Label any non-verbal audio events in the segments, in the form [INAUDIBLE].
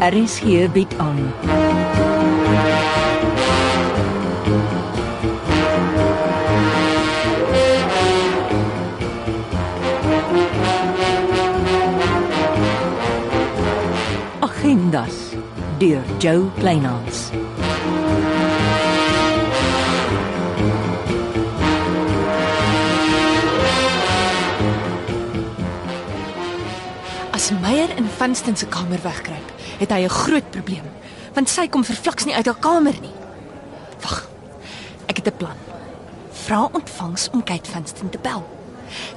RSG bied aan. Agendas deur Jo Kleinhans. As Meyer in Vanstin se kamer wegkruip, het hy 'n groot probleem, want sy kom verfliks nie uit haar kamer nie. Wag. Ek het 'n plan. Vra ontvangs om Kate Vanstin te bel.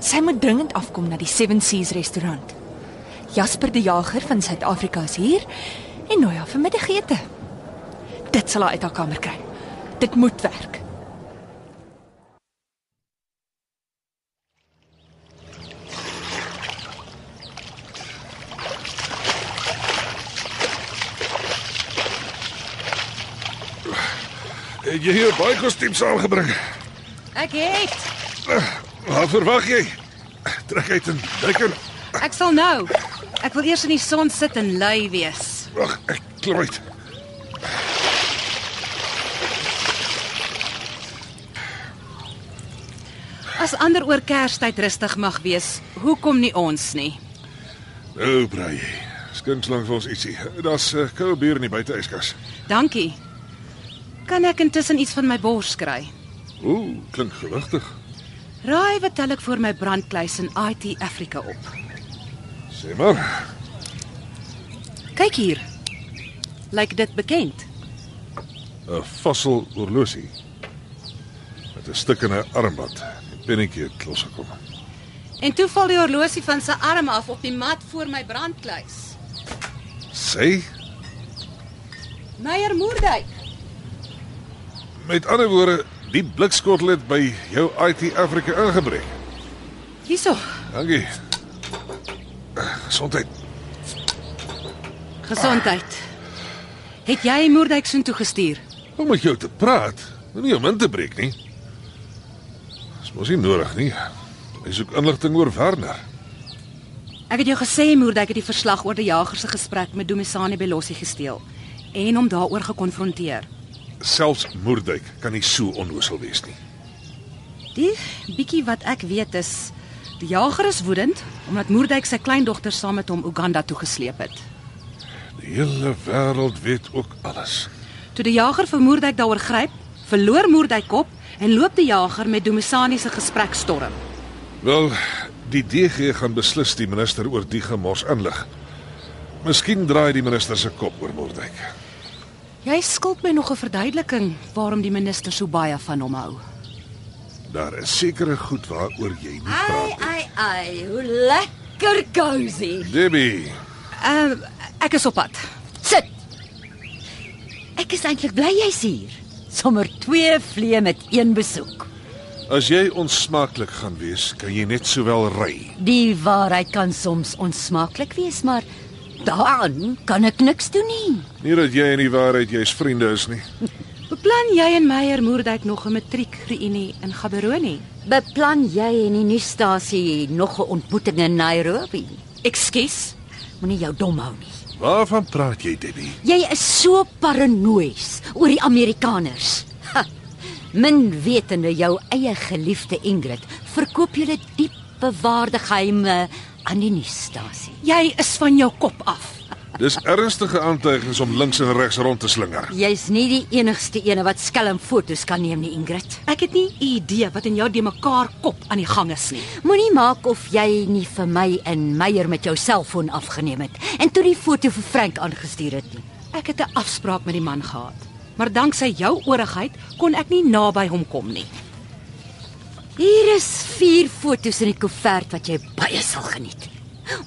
Sy moet dringend afkom na die Seven Seas restaurant. Jasper die Jager van Suid-Afrika is hier en nooi haar vir middagete. Dit sal haar uit haar kamer kry. Dit moet werk. Het jy hier baie kostuums aangebring? Ek het. Wat verwag jy? Trek uit en duik in. Ek sal nou. Ek wil eers in die son sit en lui wees. Wag, ek klim uit. As ander oor Kerstyd rustig mag wees, hoekom nie ons nie? Nou, braai. Skins langs vir ons ietsie. Daar's uh, koue bier in die buiteyskas. Dankie. Kan ek intussen iets van my bors kry? Ooh, klink gewigtig. Raai wat tel ek vir my brandkluis in IT Afrika op? Sê maar, Kyk hier. Lyk dit bekend? 'n vassel horlosie met 'n stuk in 'n armband. Die pennetjie het losgekom. En toe val die horlosie van sy arm af op die mat voor my brandkluis. Sê, Meyer Moerdijk. met ander woorde, die blikskottel het by jou IT Afrika ingebreek. Hierso. Dankie. Eh, Gesondheid. Gesondheid. Het jy Moerdijk soontoe gestuur? Om met jou te praat, moenie om in te breek nie. Dis mos nie nodig nie. Hy soek inligting oor Werner. Ek het jou gesê Moerdijk het die verslag oor die jager se gesprek met Domisani Belossi gesteel en hom daaroor gekonfronteer. Selfs Moerduyk kan nie so onnoosel wees nie. Die bietjie wat ek weet is die jager is woedend omdat Moerdijk sy kleindogter saam met hom Uganda toe gesleep het. Die hele wêreld weet ook alles. Toe die jager vir Moerdijk daaroor gryp, verloor Moerdijk kop en loop die jager met Domisani se gesprek storm. Wel, die DG gaan beslis die minister oor die gemors inlig. Miskien draai die minister se kop oor Moerduyk. Jy skuld my nog 'n verduideliking waarom die minister so baie van hom hou. Daar is sekere goed waaroor jy nie Ai, praat nie. ai, ai, hoe lekker cozy. Debbie, Uh, ek is op pad. Sit. Ek is eintlik bly jy's hier. Sommer twee vlee met een besoek. as jy onsmaaklik gaan wees, kan jy net sowel ry. Die waarheid kan soms onsmaaklik wees, maar daaraan kan ek niks doen nie. Nie dat jy in die waarheid jy's vriende is nie. Beplan jy en Meyer Moerdijk nog 'n matriekreünie in Gaborone? Beplan jy en die nuusstasie nog 'n ontmoeting in Nairobi? Ekskuus. Moenie jou dom hou nie. Waarvan praat jy, Debbie? Jy is so paranoïes oor die Amerikaners. Ha, min wetende jou eie geliefde Ingrid verkoop julle diep bewaarde geheime aan die nuusstasie. Jy is van jou kop af. Dis ernstige aantuigings om links en regs rond te slinger. Jy's nie die enigste een wat skelm foto's kan neem nie, Ingrid. Ek het nie 'n idee wat in jou de mekaar kop aan die gang is nie. Moenie maak of jy nie vir my in Meyer met jou selfoon afgeneem het en toe die foto vir Frank aangestuur het nie. Ek het 'n afspraak met die man gehad, maar danksy jou oorigheid kon ek nie naby hom kom nie. Hier is vier fotos in die koevert wat jy baie sal geniet.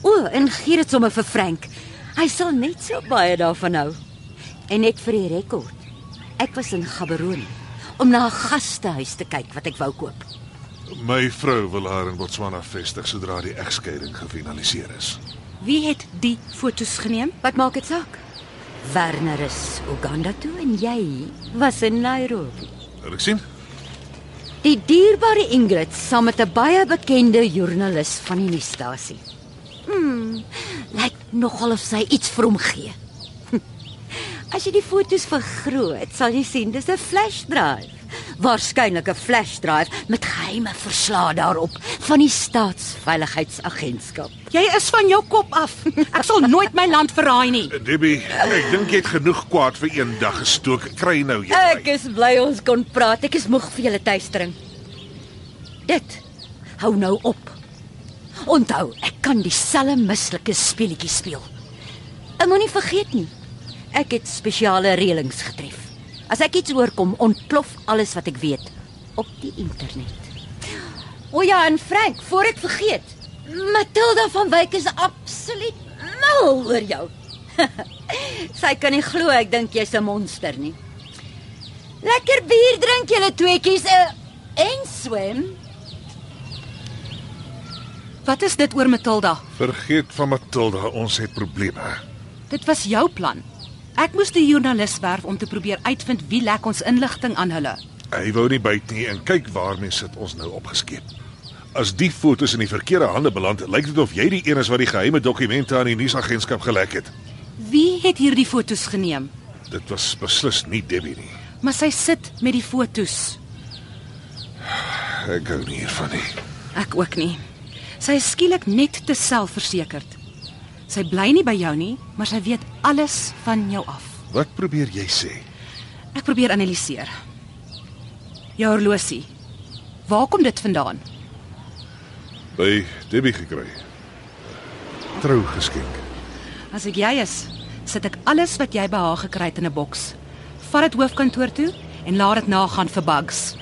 O, en gee dit sommer vir Frank. Hy sal net so baie daarvan hou. En net vir die rekord. Ek was in Gaborone om na 'n gastehuis te kyk wat ek wou koop. My vrou wil haar in Botswana vestig sodra die egskeiding gefinaliseer is. Wie het die fotos geneem? Wat maak dit saak? Werner is Uganda toe en jy was in Nairobi. Wil ek sien? Die dierbare Ingrid saam met 'n baie bekende joernalis van die nuusstasie. Hmm, lyk nogal of sy iets vir hom gee. As jy die foto's vergroot, sal jy sien dis 'n flash drive. Waarskynlik 'n flash drive met geheime verslae daarop van die staatsveiligheidsagentskap. Jy is van jou kop af. Ek sal nooit my land verraai nie. Eh, Debbie, ek dink jy het genoeg kwaad vir een dag gestook. Kry nou jou. Ek is bly ons kon praat. Ek is moeg vir julle tuistering. Dit hou nou op. Onthou, ek kan dieselfde mislike speletjie speel. Ek moenie vergeet nie. Ek het spesiale reëlings getref. As ek iets oorkom, ontplof alles wat ek weet op die internet. O ja, en Frank, voor ek vergeet, Matilda van Wyk is absoluut mal oor jou. [LAUGHS] Sy kan nie glo ek dink jy's 'n monster nie. Lekker bier drink julle tweetjies uh, en swem. Wat is dit oor Matilda? Vergeet van Matilda, ons het probleme. Dit was jou plan. Ek moes die joernalis werf om te probeer uitvind wie lek ons inligting aan hulle. Hy wou nie byt nie en kyk waarmee sit ons nou opgeskeep. As die fotos in die verkeerde hande beland, lyk dit of jy die een is wat die geheime dokumente aan die nuusagentskap gelek het. Wie het hierdie fotos geneem? Dit was beslis nie Debbie nie. Maar sy sit met die fotos. Ek gou nie hiervan nie. Ek ook nie. Sy is skielik net te selfversekerd. Sy bly nie by jou nie, maar sy weet alles van jou af. Wat probeer jy sê? Ek probeer analiseer. Jou horlosie. Waar kom dit vandaan? By Debbie gekry. Trou geskenk. As ek jy is, sit ek alles wat jy by haar gekry het in 'n boks. Vat dit hoofkantoor toe en laat dit nagaan vir bugs.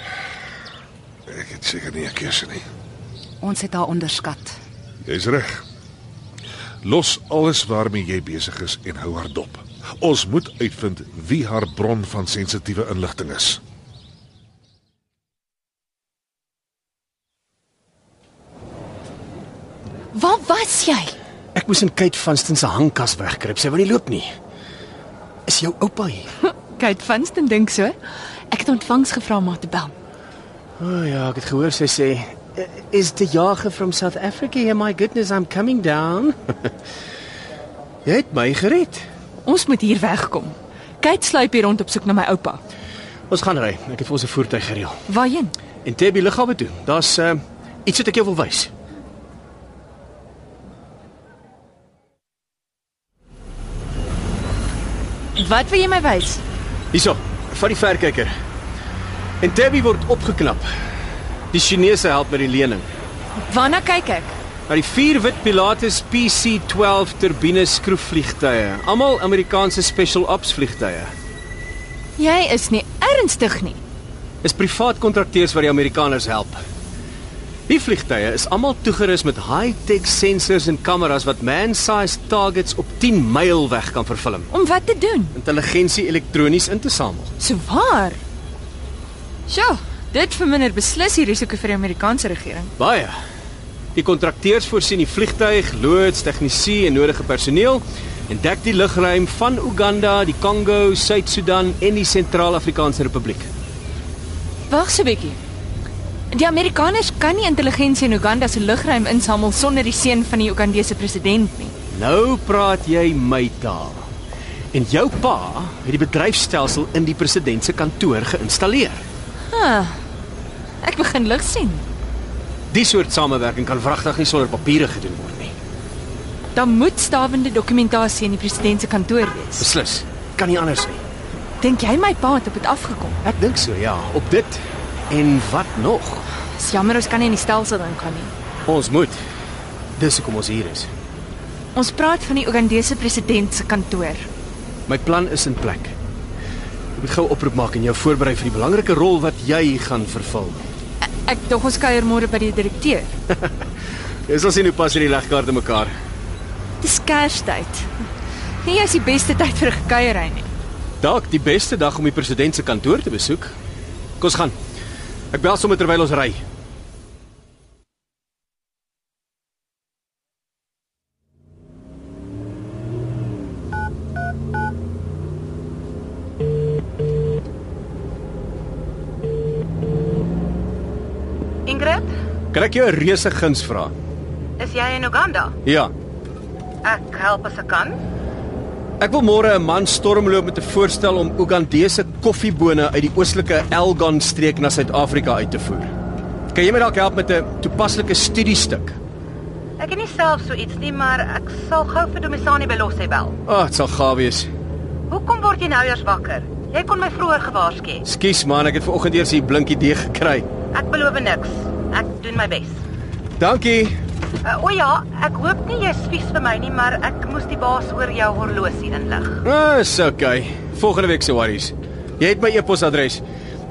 Ek het seker nie 'n keuse nie. Ons het haar onderskat. Jy's reg. Los alles waarmee jy besig is en hou haar dop. Ons moet uitvind wie haar bron van sensitiewe inligting is. Waar was jy? Ek moes in Kate Vanston se hangkas wegkruip. Sy wil nie loop nie. Is jou oupa hier? Kate Vanston dink so. Ek het ontvangs gevra om haar te bel. O oh, ja, ek het gehoor sy sê "Eh, is die jager from South Africa here. My goodness, I'm coming down. [LAUGHS] Jy het my gered. Ons moet hier wegkom. Kate sluip hier rond op soek na my oupa. Ons gaan ry. Ek het vir ons 'n voertuig gereël. Waarheen? En Tebby liggawe toe. Daar's uh, iets wat ek jou wil wys. Wat wil jy my wys? Hierso, vat die verkyker. En Tebby word opgeknap. Die Chinese help met die lening. Waarna kyk ek? Na die vier wit Pilatus PC-12 turbine skroefvliegtuie, almal Amerikaanse special ops vliegtuie. Jy is nie ernstig nie. Is privaat kontrakteurs wat die Amerikaners help. Die vliegtuie is almal toegerus met high-tech sensors en kameras wat man-sized targets op 10 myl weg kan vervilm. Om wat te doen? Intelligensie elektronies in te samel. So waar? Sjoe, dit verminder beslis die risiko vir die Amerikaanse regering. Baie. Die kontrakteurs voorsien die vliegtyg, loods, tegnisie en nodige personeel en dek die lugruim van Uganda, die Kongo, Suid-Sudan en die Sentraal-Afrikaanse Republiek. Wag so 'n bietjie. Die Amerikaners kan nie intelligensie in Uganda se lugruim insamel sonder die seën van die Ugandese president nie. Nou praat jy my taal. En jou pa het die bedryfstelsel in die president se kantoor geïnstalleer. Ek begin lig sien. Die soort samewerking kan wragtig nie sonder papiere gedoen word nie. Daar moet stawende dokumentasie in die president se kantoor wees. Beslis. Kan nie anders nie. Dink jy my pa het op dit afgekom? Ek dink so, ja, op dit en wat nog? Dis jammer ons kan nie in die stelsel ingaan nie. Ons moet. Dis hoekom ons hier is. Ons praat van die Ugandese president se kantoor. My plan is in plek. Ek moet gou oproep maak en jou voorberei vir die belangrike rol wat jy gaan vervul. Ek dog ons kuier môre by die direkteur. Jy sal sien hoe nou pas hierdie legkaarte mekaar. Dis Kerstyd. Nee, is die beste tyd vir 'n kuierery nie. Dalk die beste dag om die president se kantoor te besoek. Kom ons gaan. Ek bel sommer terwyl ons ry. Ingrid, Kan ek jou 'n reuse guns vra? is jy in Uganda? Ja. Ek help as ek kan. Ek wil môre 'n man stormloop met 'n voorstel om Ugandese koffiebone uit die oostelike Elgon streek na Suid-Afrika uit te voer. Kan jy my dalk help met 'n toepaslike studiestuk? Ek het nie self so iets nie, maar ek sal gou vir Domisani Belossie bel. Ag, oh, dit sal gaaf wees. Hoekom word jy nou eers wakker? Jy kon my vroeër gewaarsku. Skus man, ek het vanoggend eers hier blinkie deeg gekry. Ek beloof niks. Ek doen my bes. Dankie. Uh, o ja, ek hoop nie jy spies vir my nie, maar ek moes die baas oor jou horlosie inlig. Dis okay. Volgende week se worries. Jy het my e-posadres.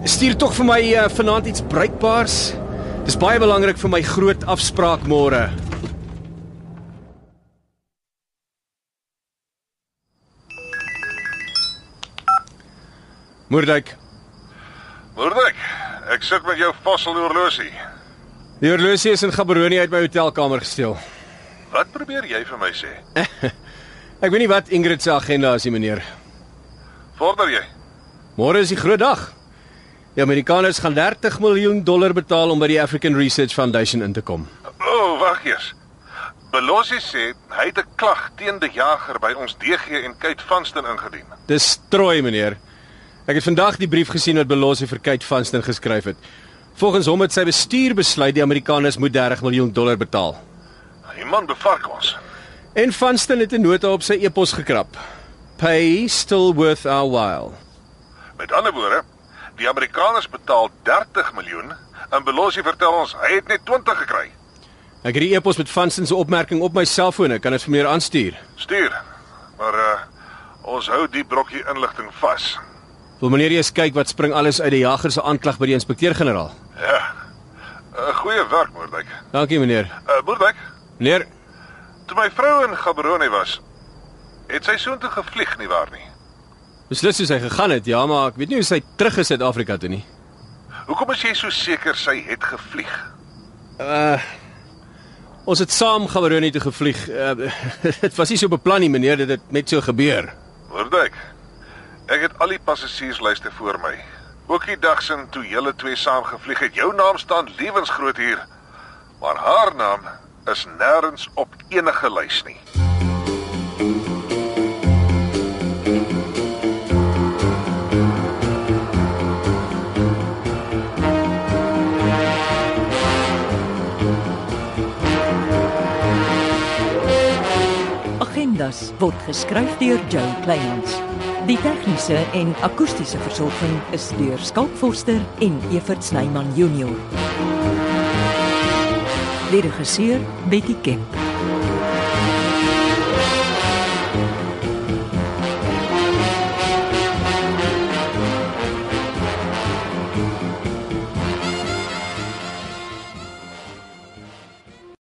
Stuur tog vir my uh, vanaand iets bruikbaars. Dis baie belangrik vir my groot afspraak môre. Moerdijk, Moordek, ek sit met jou fossiel horlosie. die horlosie is in Gaborone uit my hotelkamer gesteel. Wat probeer jy vir my sê? Ek weet nie wat Ingrid se agenda is nie, meneer. Vorder jy? Môre is die groot dag. Die Amerikaners gaan 30 miljoen dollar betaal om by die African Research Foundation in te kom. O, oh, wag eers. Belossie sê hy het 'n klag teen die jager by ons DG en Kate Vanston ingedien. Dis strooi, meneer. Ek het vandag die brief gesien wat Belosi vir Kate Vanston geskryf het. Volgens hom het sy bestuur besluit die Amerikaners moet 30 miljoen dollar betaal. Die man bevark ons. En Vanston het 'n nota op sy e-pos gekrap. Pay still worth our while. Met ander woorde, die Amerikaners betaal 30 miljoen en Belossie vertel ons hy het net 20 gekry. Ek het die e-pos met Vanston se opmerking op my selfoon, ek kan dit vir meneer aanstuur. Stuur. Maar uh ons hou die brokkie inligting vas. Wil meneer eers kyk wat spring alles uit die jager se aanklag by die inspekteur-generaal? Ja. Uh, goeie werk, Moordek. Dankie meneer. Uh Moordek, Meneer, toe my vrou in Gaborone was, het sy soontoe gevlieg nie waar nie. beslis hoe sy gegaan het, ja, maar ek weet nie hoe sy terug is Suid-Afrika toe nie. Hoekom is jy so seker sy het gevlieg? Ons het saam Gaborone toe gevlieg. Uh, [LAUGHS] Dit was nie so beplan nie, meneer, dit het net so gebeur. Moordek. Ek het al die passasierslyste voor my. Ook die dag sin toe julle twee saam gevlieg het, jou naam staan lewensgroot hier. Maar haar naam is nêrens op enige lys nie. Agendas word geskryf deur Joe Kleinhans. Die tegniese en akoestiese versorging is deur Skalk Forster en Evert Snyman Junior. Die regisseur Betty Kemp.